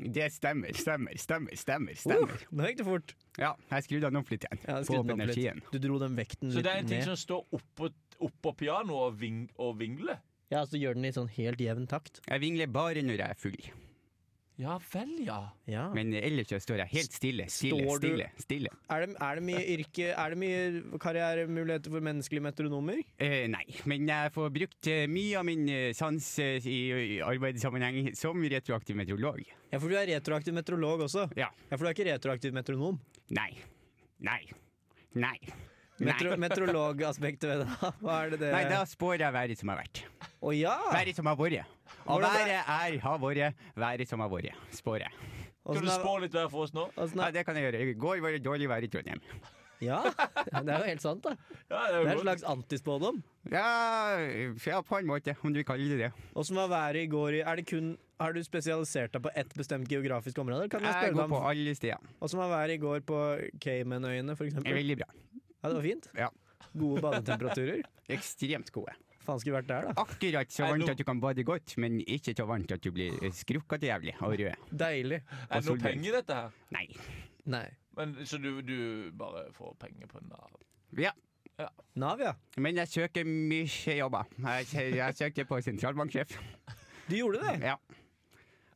S3: Det stemmer. Stemmer. Stemmer. Stemmer.
S4: Uh,
S3: stemmer.
S4: nå gikk det fort.
S3: Ja, jeg skrudde den opp litt igjen.
S4: Ja, jeg
S3: Få
S4: skrudde
S3: opp
S4: den opp
S3: energien.
S4: litt. Du dro den vekten
S5: Så
S4: litt
S5: det er en ting
S4: ned.
S5: som står oppå oppå pianoet og, ving, og vingler?
S4: Ja, så gjør den i sånn helt jevn takt.
S3: Jeg vingler bare når jeg er full.
S5: Ja vel, ja.
S4: Ja.
S3: Men ellers så står jeg helt stille. Stille,
S4: Står du-
S3: stille. stille.
S4: Er det, er det mye yrke Er det mye karrieremuligheter for menneskelige metronomer?
S3: Eh, nei, men jeg får brukt eh, mye av min eh, sans eh, i i arbeidssammenheng som retroaktiv meteorolog.
S4: Ja, for du er retroaktiv meteorolog også.
S3: Ja.
S4: Ja, For du er ikke retroaktiv metronom.
S3: Nei. Nei. Nei.
S4: Metro,
S3: Nei.
S4: meteorologaspektet ved det, da? Hva er det det
S3: Nei, da spår jeg været som har vært.
S4: Å ja!
S3: Været som har vært. Og
S4: Hvordan
S3: været Ah. er, har vært, været som har vært. Spår jeg.
S5: Kan
S4: Åssen
S5: du
S4: er-
S5: spå litt vær for oss nå?
S4: åssen
S3: Nei,
S4: er-
S3: det kan jeg gjøre. I går var det dårlig vær i Trondheim.
S4: Ja, det er jo helt sant, da.
S5: Ja,
S4: Det
S5: jo
S4: er en
S5: godt.
S4: slags antispådom.
S3: Ja, ja, på en måte, om du kaller det det.
S4: Åssen var været i går? i- Er det kun, har du spesialisert deg på ett bestemt geografisk område? eller Kan jeg
S3: Jeg
S4: spørre
S3: går
S4: deg
S3: på
S4: om
S3: alle steder.
S4: Åssen var været i går på Caymanøyene, for
S3: Det er
S4: eksempel?
S3: Veldig bra.
S4: Ja, det var fint.
S3: Ja.
S4: Gode badetemperaturer.
S3: Ekstremt gode.
S4: Faen skulle vært der, da.
S3: Akkurat så
S5: Er
S3: varmt
S5: no-
S3: at du kan bade godt, men ikke så varmt at du blir eh, skrukkete jævlig og rød.
S4: Deilig.
S5: Er det
S3: Solveig.
S5: noe penger i dette her?
S3: Nei.
S4: Nei.
S5: Men, så du, du bare får penger på Nav?
S3: Ja.
S4: Nav, ja.
S3: Men jeg søker mye jobber. Jeg, sø- jeg søkte på sentralbanksjef.
S4: Du gjorde det?
S3: Ja.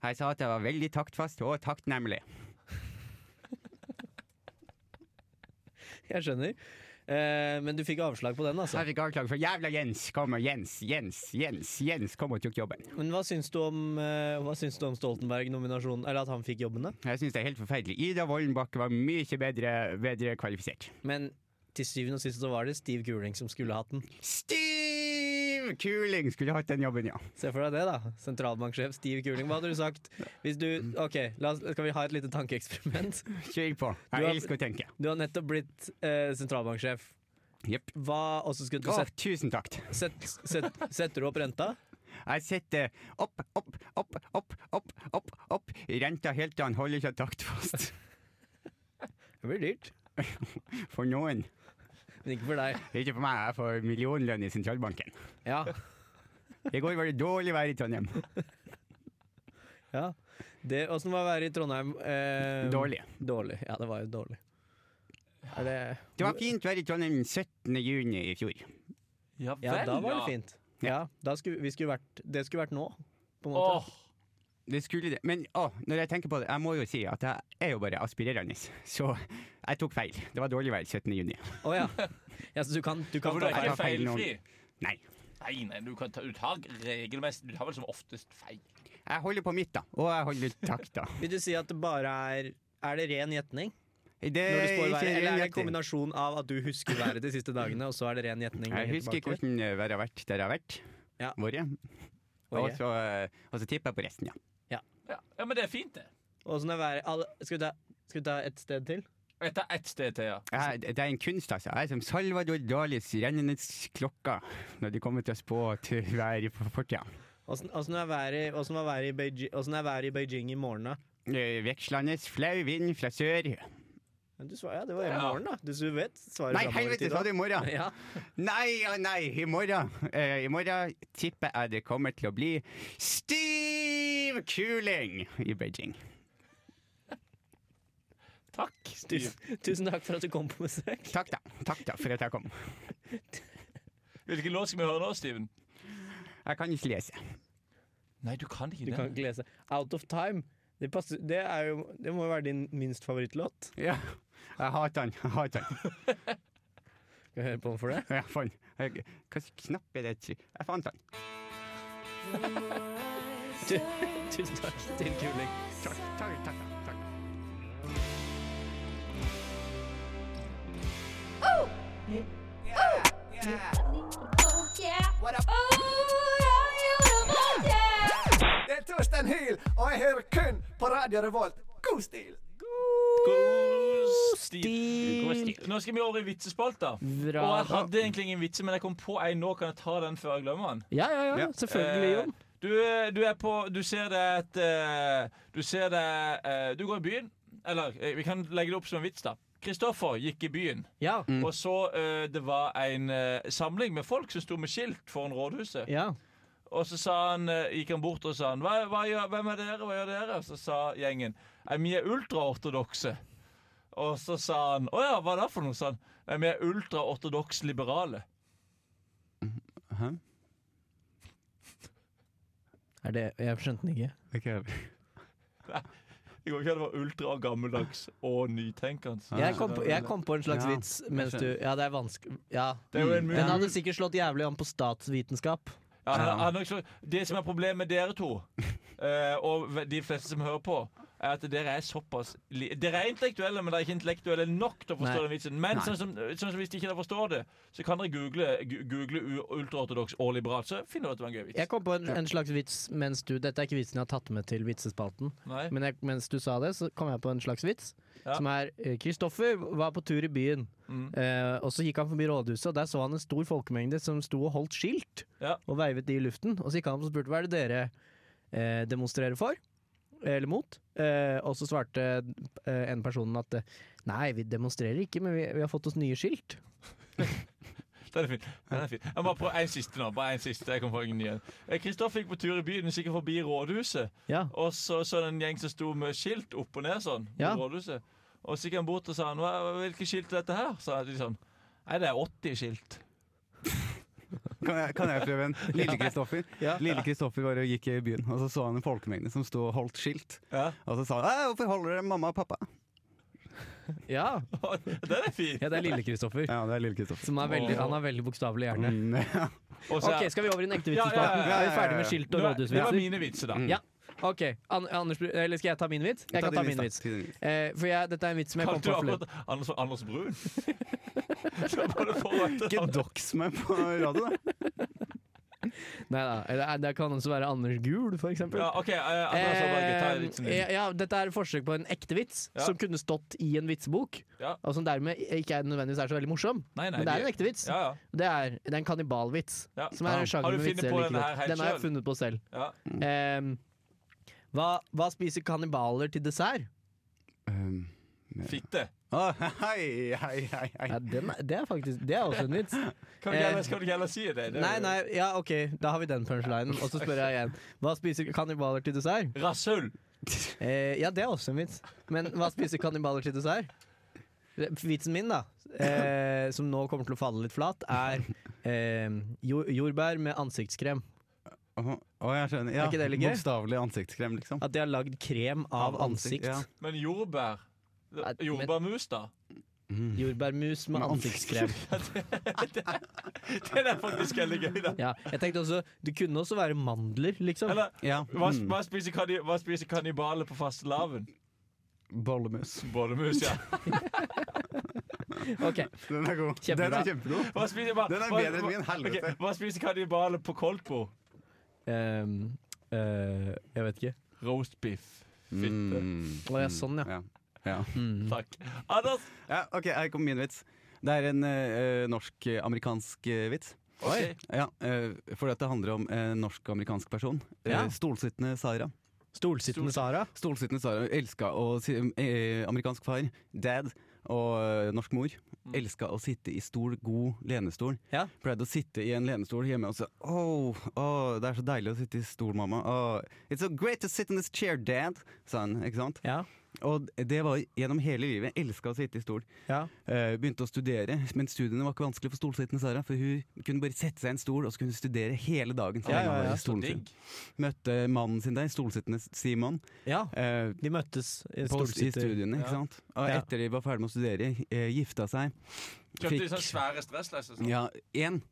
S3: Jeg sa at jeg var veldig taktfast og taktnemlig.
S4: Jeg skjønner. Eh, men du fikk avslag på den, altså.
S3: Jeg fikk avslag for jævla Jens. Kom og Jens, Jens, Jens, Jens kom og tok jobben.
S4: Men hva syns du om, eh, hva syns du om Stoltenberg-nominasjonen? Eller at han fikk jobbene?
S3: Jeg syns det er helt forferdelig. Ida Wollenbakke var mye bedre, bedre kvalifisert.
S4: Men til syvende og sist så var det Steve Kuling som skulle hatt den.
S3: Steve Kuling skulle hatt den jobben, ja.
S4: Se for deg det, da. Sentralbanksjef Steve Kuling. Hva hadde du sagt hvis du Ok, la oss, skal vi ha et lite tankeeksperiment?
S3: Kjør på.
S4: Du
S3: Jeg
S4: har-
S3: elsker å tenke.
S4: Du har nettopp blitt eh, sentralbanksjef.
S3: Jepp.
S4: Hva Og så skulle du
S3: Å,
S4: sette
S3: tusen takk.
S4: set, set, Setter du opp renta?
S3: Jeg setter opp, opp, opp, opp, opp, opp, opp. renta helt til han holder seg taktfast.
S4: Det blir dyrt.
S3: For noen.
S4: Men ikke for deg.
S3: Ikke for meg, jeg får millionlønn i sentralbanken.
S4: Ja.
S3: I går var det dårlig vær i Trondheim.
S4: ja. Det, åssen var været i Trondheim? Eh,
S3: Dårlig.
S4: Dårlig. Ja, det var jo dårlig. Er det
S3: Det var fint vær i Trondheim den 17. juni i fjor.
S5: Ja vel,
S4: Ja, da var det fint. Ja, da skulle, vi skulle vært, det skulle vært nå, på en måte.
S5: Åh,
S3: Det skulle det. Men å, når jeg tenker på det, jeg må jo si at jeg er jo bare aspirerende. Så jeg tok feil. Det var dårlig vær 17. juni.
S4: Å ja. ja. Så du kan, du kan
S5: hvorfor
S4: ta feil.
S5: er ikke
S3: ta feil noen-
S5: feilfri?
S3: Nei.
S5: Nei, nei, du, kan ta, du tar regelmessig Du tar vel som oftest feil.
S3: Jeg holder på mitt, da. Og jeg holder takta.
S4: Vil du si at det bare er Er det ren gjetning?
S3: Det
S4: Når du spår
S3: Eh, ikke
S4: været, eller er det en
S3: riktig.
S4: kombinasjon av at du husker været de siste dagene, og så er det ren gjetning?
S3: Jeg
S4: lenger
S3: husker
S4: tilbake?
S3: hvordan eh, været har vært der jeg har vært.
S4: Ja.
S3: Vært.
S4: Året.
S3: Og, så, eh, og så tipper jeg på resten, ja.
S5: Ja. ja, men det er fint, det.
S4: Og sånn er været alle, skal, vi ta, skal vi ta et sted til?
S5: Jeg tar ett sted til, ja.
S3: Jeg, det er en kunst, altså. Jeg er som Salvador Dalis rennende klokka når det kommer til å spå til været på fortida.
S4: Åssen åssen er været åssen var været i, Beiji- åssen er været i Beijing i morgen, da?
S3: Eh, Vekslende flau vind fra sør.
S4: Men du svar, ja, det var i morgen, da. Du, du vet svaret
S3: Nei,
S4: fremover i
S3: helvete,
S4: tid, da.
S3: sa du i morgen?
S4: Ja.
S3: Nei og nei, i morgen eh, I morgen tipper jeg det kommer til å bli stiv kuling i Beijing.
S5: Takk.
S4: Tusen, tusen takk for at du kom på besøk.
S3: Takk da, takk da for at jeg kom.
S5: Hvilken låt skal vi høre nå, Steven?
S3: Jeg kan ikke lese.
S5: Nei, du kan ikke
S4: Du kan ikke lese. Out of time. Det, passer, det, er jo, det må jo være din minst favorittlåt.
S3: Ja, jeg hater han. Jeg hater han.
S4: Skal vi høre på den for det?
S3: Ja, faen. Jeg- Hva slags knapp er det? jeg trykker? Jeg fant han.
S4: Tusen takk til Kuling.
S3: Takk, takk, takk. takk.
S9: Det er Torstein Hyl, og jeg hører kun på Radio Revolt. God stil!
S5: God stil. God stil. Nå skal vi over i vitsespalta.
S4: Bra.
S5: Og jeg hadde egentlig ingen vitser, men jeg kom på en nå. Kan jeg ta den før jeg glemmer den?
S4: Ja, ja, ja.
S3: Ja.
S4: Selvfølgelig,
S5: Eh,
S4: Jon.
S5: Du, du er på Du ser det et eh, Du ser det eh, Du går i byen. Eller eh, vi kan legge det opp som en vits, da. Kristoffer gikk i byen,
S4: Ja.
S5: og så eh, det var en eh, samling med folk som sto med skilt foran rådhuset.
S4: ja.
S5: Og så sa han, eh, gikk han bort og sa han, hva, hva gjør, 'Hvem er dere? Hva gjør dere?' Så sa gjengen «Nei, 'Vi er ultraortodokse'. Og så sa han 'Å ja, hva da for noe?' sa han. «Nei, 'Vi er ultraortodoks liberale'.
S3: Hæ?
S4: Er det Jeg skjønte den ikke.
S3: Ok.
S5: Jeg går ikke an å være ultra og gammeldags og nytenkende.
S4: Jeg kom, på, jeg kom på en slags
S3: Ja,
S4: vits mens du Ja, det er vanskelig Ja. Mm.
S5: Det er jo en
S4: Den
S5: mulighet.
S4: hadde sikkert slått jævlig an på statsvitenskap.
S5: Ja, han, han, har ikke slått- det som er problemet med dere to, eh, og ve- de fleste som hører på, er at dere er såpass li Dere er intellektuelle, men dere er ikke intellektuelle nok til å forstå
S4: Nei.
S5: den vitsen. Men sånn som, sånn som hvis de ikke dere forstår det, så kan dere google, gu- google u- ultraortodoks og liberalt, så finner dere at det var en gøy vits.
S4: Jeg kom på en, en slags vits mens du Dette er ikke vitsen jeg har tatt med til vitsespalten.
S5: Nei?
S4: Men jeg, mens du sa det, så kom jeg på en slags vits.
S5: Ja.
S4: Som er eh, Kristoffer var på tur i byen,
S5: Mm.
S4: eh, og så gikk han forbi rådhuset, og der så han en stor folkemengde som sto og holdt skilt,
S5: Ja.
S4: og veivet de i luften. Og så gikk han opp og spurte hva er det dere eh, demonstrerer for? Eller mot? Eh, og så svarte eh, en personen at eh, nei, vi demonstrerer ikke, men vi, vi har fått oss nye skilt.
S5: Den er fin. Den er fin. Jeg må bare prøve en siste nå. Bare en siste. Jeg kommer på ingen igjen. Eh, Kristoffer gikk på tur i byen, sikkert forbi rådhuset.
S4: Ja.
S5: Og så så han en gjeng som sto med skilt opp og ned sånn. mot
S4: Ja.
S5: rådhuset. Og så gikk han bort og sa han, «Hva- hvilke skilt er dette her? Så de sånn, Nei, det er 80 skilt.
S3: Kan jeg, kan jeg prøve en? Lille Kristoffer
S4: Ja.
S3: Lille Kristoffer var og gikk i byen, og så så han en folkemengde som sto og holdt skilt.
S5: Ja.
S3: Og så sa han «Æ, 'Hvorfor holder dere mamma og pappa?'
S4: Ja,
S5: Den er fin.
S4: ja det er lille Kristoffer.
S3: Ja, det er Lille Kristoffer.
S4: Som er veldig, han har veldig bokstavelig hjerne.
S3: Mm, ja.
S5: Og så-
S4: Ok, Skal vi over i den ekte
S5: Ja, ja,
S4: vitsespalten?
S5: ja, ja,
S4: Er vi ferdig med skilt og
S5: Nå er- Det var
S4: rådhusvitser?
S5: mine vitser, da.
S3: Mm.
S4: Ja. Ok, An Anders, Bru- eller Skal jeg ta min vits? Jeg kan ta
S3: din
S4: min
S3: da.
S4: vits.
S3: Ta din vits.
S4: Eh, for jeg, dette er en vits som jeg kom
S5: Kalte du
S4: på forleden.
S5: akkurat Anders, Anders Brun? Så bare for at-
S3: Ikke dox meg på radio, da.
S4: Nei da, eller, eh, det kan også være Anders Gul, for eksempel.
S5: Ja, OK. eh, Anders Håberg, ta vitsen
S4: Eh,
S5: din.
S4: ja, dette er et forsøk på en ekte vits
S5: Ja.
S4: som kunne stått i en vitsebok,
S5: Ja.
S4: og som dermed ikke er nødvendigvis er så veldig morsom.
S5: Nei, nei,
S4: Men det er
S5: de-
S4: en ekte vits.
S5: Ja, ja.
S4: Det, er, det er en kannibalvits.
S5: ja.
S4: Som er en sjanger
S5: Har du
S4: med
S5: funnet
S4: vitser jeg
S5: på
S4: liker
S5: denne her
S4: godt.
S5: helt
S4: Den har jeg
S5: selv?
S4: funnet på selv.
S5: Ja.
S4: Eh, hva, hva spiser kannibaler til dessert?
S3: Um,
S5: Fitte.
S3: å, hei, hei, hei, hei.
S4: Ja, den er, det er faktisk Det er også en vits.
S5: Kan du ikke
S4: Eh,
S5: heller- kan du ikke heller si det? det er
S4: Nei,
S5: jo-
S4: nei, ja, OK, da har vi den punchlinen. Og så spør jeg igjen. Hva spiser kannibaler til dessert?
S5: Rasshull.
S4: Eh, ja, det er også en vits. Men hva spiser kannibaler til dessert? Vitsen min, da, eh, som nå kommer til å falle litt flat, er eh, jo, jordbær med ansiktskrem.
S3: Å, å, jeg skjønner. Ja,
S4: Er ikke det litt gøy?
S3: Bokstavelig ansiktskrem, liksom.
S4: At de har lagd krem av ansikt.
S3: Ja.
S5: Men jordbær
S4: Nei, men-
S5: Jordbærmus, da?
S4: Jordbærmus med
S3: Mm. Med
S4: ansiktskrem.
S5: Den er faktisk veldig gøy, da.
S4: Ja, jeg tenkte også, Det kunne også være mandler, liksom.
S5: Eller
S3: Ja.
S5: hva,
S3: Mm.
S5: hva, spiser kanni- hva spiser kannibaler på fastelavn?
S3: Bollemus.
S5: Bollemus, ja.
S4: Ok,
S3: Den er god.
S4: Kjempebra.
S3: Den er kjempegod.
S5: Hva spiser, hva,
S3: Den er
S5: hva-
S3: bedre enn min,
S5: hva-
S3: helvete.
S5: ok, hva spiser kannibaler på Kolpo?
S4: ehm, eh, Jeg vet ikke.
S5: Roast beef. Fitte.
S3: Mm.
S4: Å ja, sånn, ja.
S3: Ja. ja.
S4: Mm.
S5: Takk. Anders!
S3: Ja, OK, her kommer min vits. Det er en eh, norsk-amerikansk eh, vits.
S5: ok.
S3: Ja, eh, For dette handler om en norsk-amerikansk person. Eh,
S4: Ja.
S3: Stolsittende Sara.
S4: Stolsittende Sara.
S3: Stolsittende Sara elska å si eh, amerikansk far, dad, og eh, norsk mor elska å sitte i stol, god lenestol.
S4: Mm. Ja.
S3: Pleide å sitte i en lenestol hjemme og så oh, oh, det er så deilig å sitte i stol, mamma. Oh, it's so great to sit in this chair, dad, sa han. ikke sant?
S4: Ja.
S3: Og det var gjennom hele livet. Elska å sitte i stol.
S4: Ja.
S3: Eh, begynte å studere, men studiene var ikke vanskelig for stolsittende Sara. For hun kunne bare sette seg i en stol og så kunne hun studere hele dagen.
S4: Ja,
S3: så lenge
S4: ja,
S3: hun var i
S4: ja,
S3: stolen sin. Møtte mannen sin der, stolsittende Simon.
S4: ja.
S3: eh,
S4: De møttes i
S3: på, I
S4: stolsitter.
S3: studiene, ikke sant? Og
S4: Ja.
S3: etter de var ferdig med å studere, eh, gifta seg.
S5: Kjøpte de
S3: Fikk-
S5: sånn svære stresslesser? Sånn.
S3: Ja, én.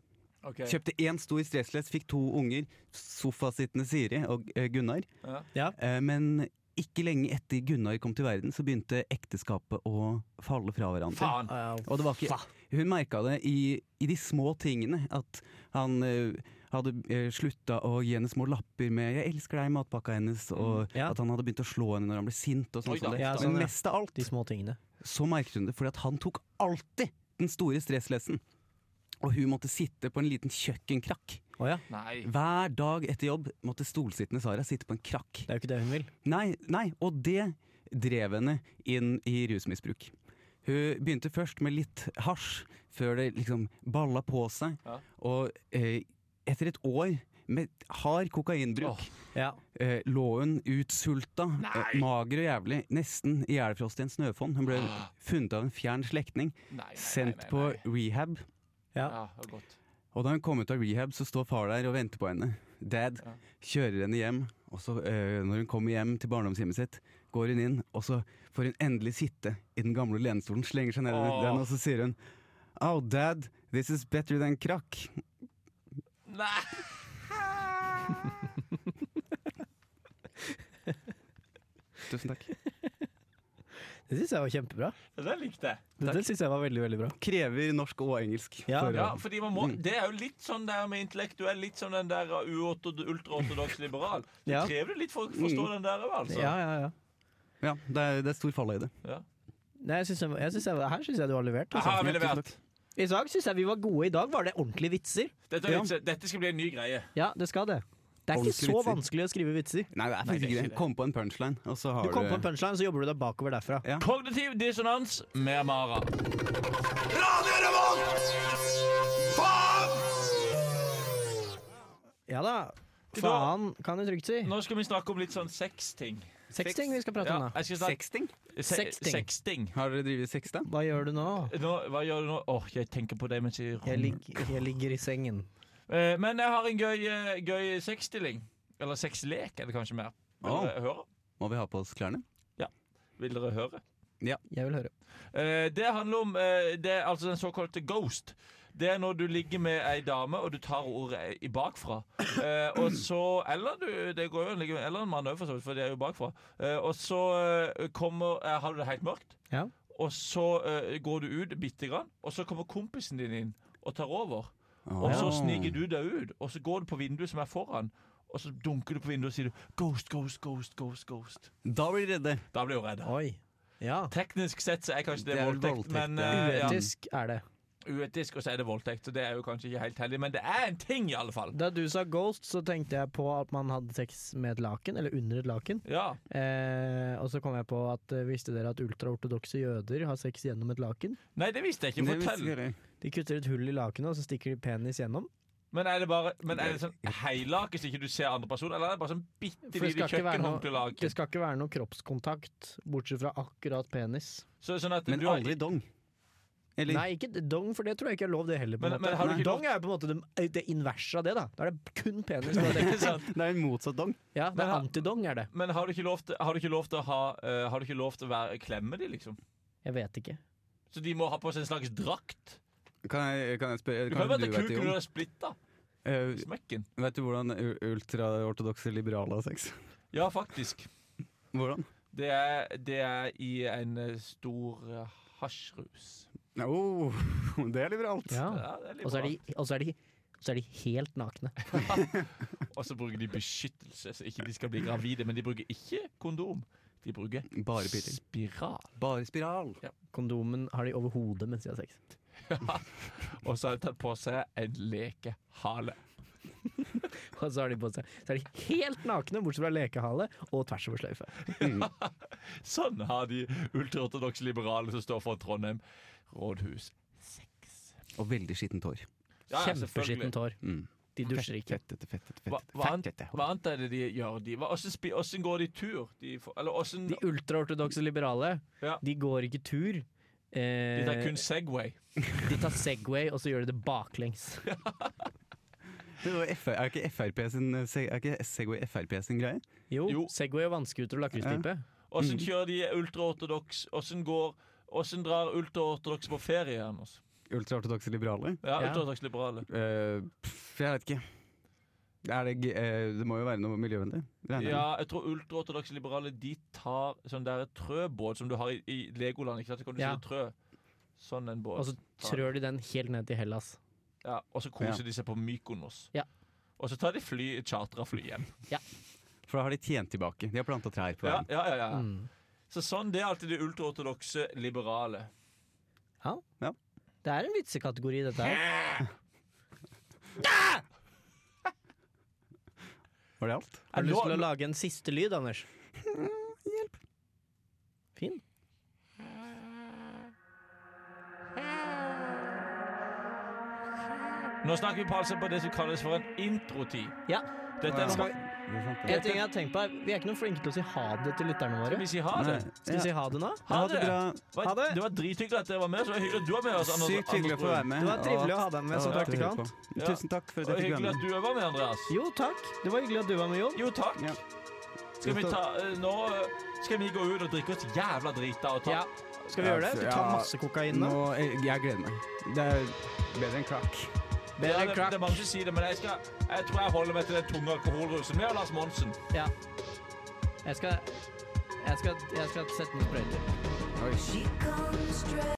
S5: Ok.
S3: Kjøpte én stor stressless, fikk to unger. Sofasittende Siri og eh, Gunnar.
S5: Ja.
S4: Ja.
S3: Eh, men ikke lenge etter Gunnar kom til verden, så begynte ekteskapet å falle fra hverandre.
S5: Faen!
S4: Ja.
S3: Og det var ikke, hun merka det i, i de små tingene. At han eh, hadde uh, slutta å gi henne små lapper med 'jeg elsker deg' i matpakka hennes. Og
S4: Mm, Ja.
S3: at han hadde begynt å slå henne når han ble sint. Og
S5: Oi
S3: sånt,
S5: da.
S3: sånt.
S4: Ja, sånn,
S3: Men
S4: ja.
S3: mest av alt
S4: De små tingene.
S3: så merket hun det, fordi at han tok alltid den store stresslessen. Og hun måtte sitte på en liten kjøkkenkrakk.
S4: Å ja.
S5: Nei.
S3: Hver dag etter jobb måtte stolsittende Sara sitte på en krakk.
S4: Det er jo ikke det hun vil.
S3: Nei, nei, og det drev henne inn i rusmisbruk. Hun begynte først med litt hasj, før det liksom balla på seg.
S5: Ja.
S3: Og eh, etter et år med hard kokainbruk
S4: Ja.
S3: eh, lå hun utsulta, eh, mager og jævlig, nesten i hjælfrost i en snøfonn. Hun ble funnet av en fjern slektning,
S5: Ah. Nei, nei,
S3: sendt
S5: nei, nei,
S3: på
S5: nei.
S3: rehab.
S5: Ja, det var godt.
S3: Og da hun kom ut av rehab, så står far der og venter på henne. Dad
S5: Ja.
S3: kjører henne hjem, og så øh, når hun kommer hjem til barndomshjemmet sitt, går hun inn, og så får hun endelig sitte i den gamle lenestolen, slenger seg ned i
S5: Åh.
S3: den, og så sier hun Oh, dad, this is better than krakk.
S5: Nei!
S3: Tusen takk.
S4: Det syns jeg var kjempebra.
S5: Det likte jeg.
S4: Det, det syns jeg var veldig, veldig bra. eh,
S3: Krever norsk og engelsk.
S4: Ja.
S3: for å-
S5: Ja, fordi man må, Det er jo litt sånn der med intellektuell, litt som den der uortod- ultraortodoks liberal. Det
S4: Ja.
S5: krever det litt for å forstå den der òg, altså.
S4: Ja, ja, ja.
S3: ja det, er, det er stor fallhøyde.
S4: Nei, jeg synes jeg, jeg synes jeg, her syns jeg du har levert.
S5: Aha,
S4: Altså.
S5: vi
S3: tusen
S5: levert.
S4: I dag syns jeg vi var gode. I dag var det ordentlige vitser.
S5: Dette, er litt, dette skal bli en ny greie.
S4: Ja, det skal det. Det er ikke
S3: Ordentlige
S4: så
S3: vitser.
S4: vanskelig å skrive vitser.
S3: Nei, det er faktisk ikke det. Kom på en punchline, og så har
S4: Du
S3: du,
S4: kom på en punchline, så jobber du deg bakover derfra.
S5: Kognitiv dissonans med Amara.
S4: Ja da. Faen, kan du trygt si.
S5: Nå skal vi snakke om litt sånn sexting.
S4: Seks ting vi skal prate
S5: Ja,
S4: om, da.
S5: jeg skal snakke-
S3: Sexting?
S5: se-
S4: Sexting.
S5: Sexting.
S3: Har dere drevet sex, da?
S4: Hva gjør du nå?
S5: Nå, hva gjør du nå? Åh, jeg tenker på det mens jeg
S4: Jeg, ligg, jeg ligger i sengen.
S5: Eh, Men jeg har en gøy, eh, gøy sexstilling. Eller sexlek, er det kanskje mer. Vil
S3: Åh.
S5: dere høre?
S3: Må vi ha på oss klærne?
S5: Vil dere høre?
S4: Jeg vil høre.
S5: Eh, det handler om eh, det er altså den såkalte ghost. Det er når du ligger med ei dame, og du tar ordet i bakfra. Eh, og så Eller du det går jo, an å ligge med- Eller en mann òg, for så vidt, for de er jo bakfra. Eh, og så eh, kommer eh, Har du det helt mørkt,
S4: Ja.
S5: og så eh, går du ut bitte grann, og så kommer kompisen din inn og tar over. Og så
S3: Åh.
S5: sniker du deg ut, og så går du på vinduet som er foran, og så dunker du på vinduet og sier du, 'ghost, ghost, ghost, ghost'. ghost
S3: Da blir de redde.
S5: Da blir hun redd.
S4: Oi. Ja.
S5: Teknisk sett så er kanskje det,
S3: Det er vel
S5: voldtekt,
S3: voldtekt,
S5: men
S3: ja.
S5: eh, ja.
S4: Uetisk er det.
S5: uetisk, og så er det voldtekt. Så det er jo kanskje ikke helt heldig, men det er en ting, i alle fall.
S4: Da du sa ghost, så tenkte jeg på at man hadde sex med et laken, eller under et laken.
S5: Ja,
S4: Eh, og så kom jeg på at eh, visste dere at ultraortodokse jøder har sex gjennom et laken?
S5: Nei, det visste jeg ikke.
S3: Det visste
S5: Fortell.
S3: ikke dere.
S4: De kutter et hull i lakenet, og så stikker de penis gjennom.
S5: Men er det bare Men er det sånn heilake så ikke du ser andre personer, eller er det bare sånn bitte
S4: For det skal
S5: lite
S4: ikke være noe-
S5: kjøkkenhåndklelag?
S4: Det skal ikke være noe kroppskontakt, bortsett fra akkurat penis.
S5: Så, sånn at
S3: Men
S5: du har-
S3: aldri dong. Eller
S4: Nei, ikke d- dong, for det tror jeg ikke er lov, det heller. på en
S5: Men-
S4: måte.
S5: men har du ikke
S4: dong er jo på en måte det, det inverse av det, da. Da er det kun penis. du har sex.
S5: Ikke sant?
S3: Det er en motsatt dong.
S4: Ja, det
S5: Men
S4: er
S5: har-
S4: antidong, er det.
S5: Men har du ikke lov til, har du ikke lov til å ha eh, Har du ikke lov til å være, klemme de, liksom?
S4: Jeg vet ikke.
S5: Så de må ha på seg en slags drakt?
S3: Kan jeg, kan jeg spørre
S5: Du kan jo
S3: kanskje
S5: være
S3: vet
S5: at
S3: det,
S5: kuken
S3: Jon?
S5: din er splitta.
S3: Eh,
S5: Smekken.
S3: Vet du hvordan u- ultraortodokse liberale har sex?
S5: Ja, faktisk.
S3: Hvordan?
S5: Det er, det er i en eh, stor eh, hasjrus.
S3: Oh, det er liberalt.
S4: Ja.
S5: Ja, det er litt
S4: Og så er,
S5: bra.
S4: de- og så er, de- så er de helt nakne.
S5: Og så bruker de beskyttelse, så ikke de skal bli gravide. Men de bruker ikke kondom. De bruker
S3: Bare piler.
S5: spiral.
S3: Bare spiral.
S4: Kondomen har de over hodet mens de har sex.
S5: Og så har de tatt på seg en lekehale.
S4: Og så har de på seg Så er de helt nakne, bortsett fra lekehale og tvers over sløyfe.
S5: Sånn har de ultraortodokse liberale som står for Trondheim rådhus.
S3: Og veldig skittent hår.
S5: Ja, ja, selvfølgelig.
S4: Kjempeskittent hår.
S3: Mm.
S4: De dusjer ikke.
S3: Fettete, fettete,
S5: Hva,
S3: fettete.
S5: hva, annet,
S3: fettete hår.
S5: hva annet er det de gjør? De, hva, hvordan, spi- hvordan går de tur? De, får- eller hvordan
S4: De ultraortodokse liberale,
S5: Ja.
S4: de går ikke tur. Eh,
S5: De tar kun Segway.
S4: de tar Segway, og så gjør de det baklengs.
S3: Det var F- Er ikke FRP sin eh, seg- Er ikke Segway FRP sin greie?
S4: Jo,
S5: Jo.
S4: Segway og vannskuter og lakrispipe.
S5: Hvordan kjører de ultraortodoks? Hvordan går Hvordan drar ultraortodokse på ferie? Anders?
S3: Ultraortodokse liberale?
S5: Ja,
S4: Ja.
S5: ultraortodoks liberale.
S3: Eh, pff, jeg vet ikke. Er det, g- eh, det må jo være noe miljøvennlig? regner jeg med.
S5: Ja, jeg tror ultraortodokse liberale De tar sånn der trøbåt som du har i, i Legoland. Ikke sant? Så kan du
S4: Ja.
S5: si trø. Sånn en båt.
S4: Og så trør de den helt ned til Hellas.
S5: ja, og så koser de seg på Mykonos.
S4: Ja.
S5: Og så tar de fly, chartra fly hjem.
S3: For da har de tjent tilbake. De har planta trær på
S5: Ja,
S3: veien.
S5: ja, ja, ja.
S4: Mm.
S5: Så sånn det er alltid de ultraortodokse liberale.
S4: Det er en vitsekategori, dette her.
S3: Var det alt?
S4: Har du lyst til
S5: Nå-
S4: å lage en siste lyd, Anders? Hjelp. Fin.
S5: Nå snakker vi på altså på det som kalles for en introtid.
S4: Ja.
S5: Dette er
S4: Skal
S5: skal,
S4: vi,
S3: Det er sant, det.
S4: en ting jeg har tenkt på er, Vi er ikke noe flinke til å si ha det til lytterne
S5: skal
S4: våre.
S5: vi si ha det?
S3: Nei,
S4: Skal vi
S3: ja.
S4: si ha det nå?
S5: Ha det!
S3: bra.
S5: Det var,
S4: Ha det.
S5: det var drithyggelig at dere var med. Så det var hyggelig at du var med. Også, Anders-
S3: Sykt hyggelig å få
S5: Anders
S3: være
S5: Brun.
S3: med.
S4: Det var trivelig å
S3: og
S4: ha deg med som
S3: at- at dere
S4: praktikant.
S3: hører på. Tusen takk for at
S5: Og
S3: jeg fikk være
S5: hyggelig
S3: med.
S5: at du òg var med, Andreas.
S4: Jo, takk. Det var hyggelig at du var med, Jon.
S5: Jo, takk.
S3: Ja.
S5: Skal vi ta eh, Nå eh, skal vi gå ut og drikke oss jævla drita og ta
S4: Ja. altså, Skal vi gjøre det? Vi tar
S3: Ja.
S4: masse kokain nå.
S3: Nå, jeg, jeg gleder meg. Det er bedre enn crack.
S4: Bedre
S5: Ja,
S4: enn
S5: det,
S4: crack.
S5: det må ikke si det, men jeg, skal, jeg tror jeg holder meg til den tunge alkoholrusen. Med Lars Monsen.
S4: Ja. Jeg skal Jeg skal, jeg skal sette noen sprøyter.
S7: She comes dressed.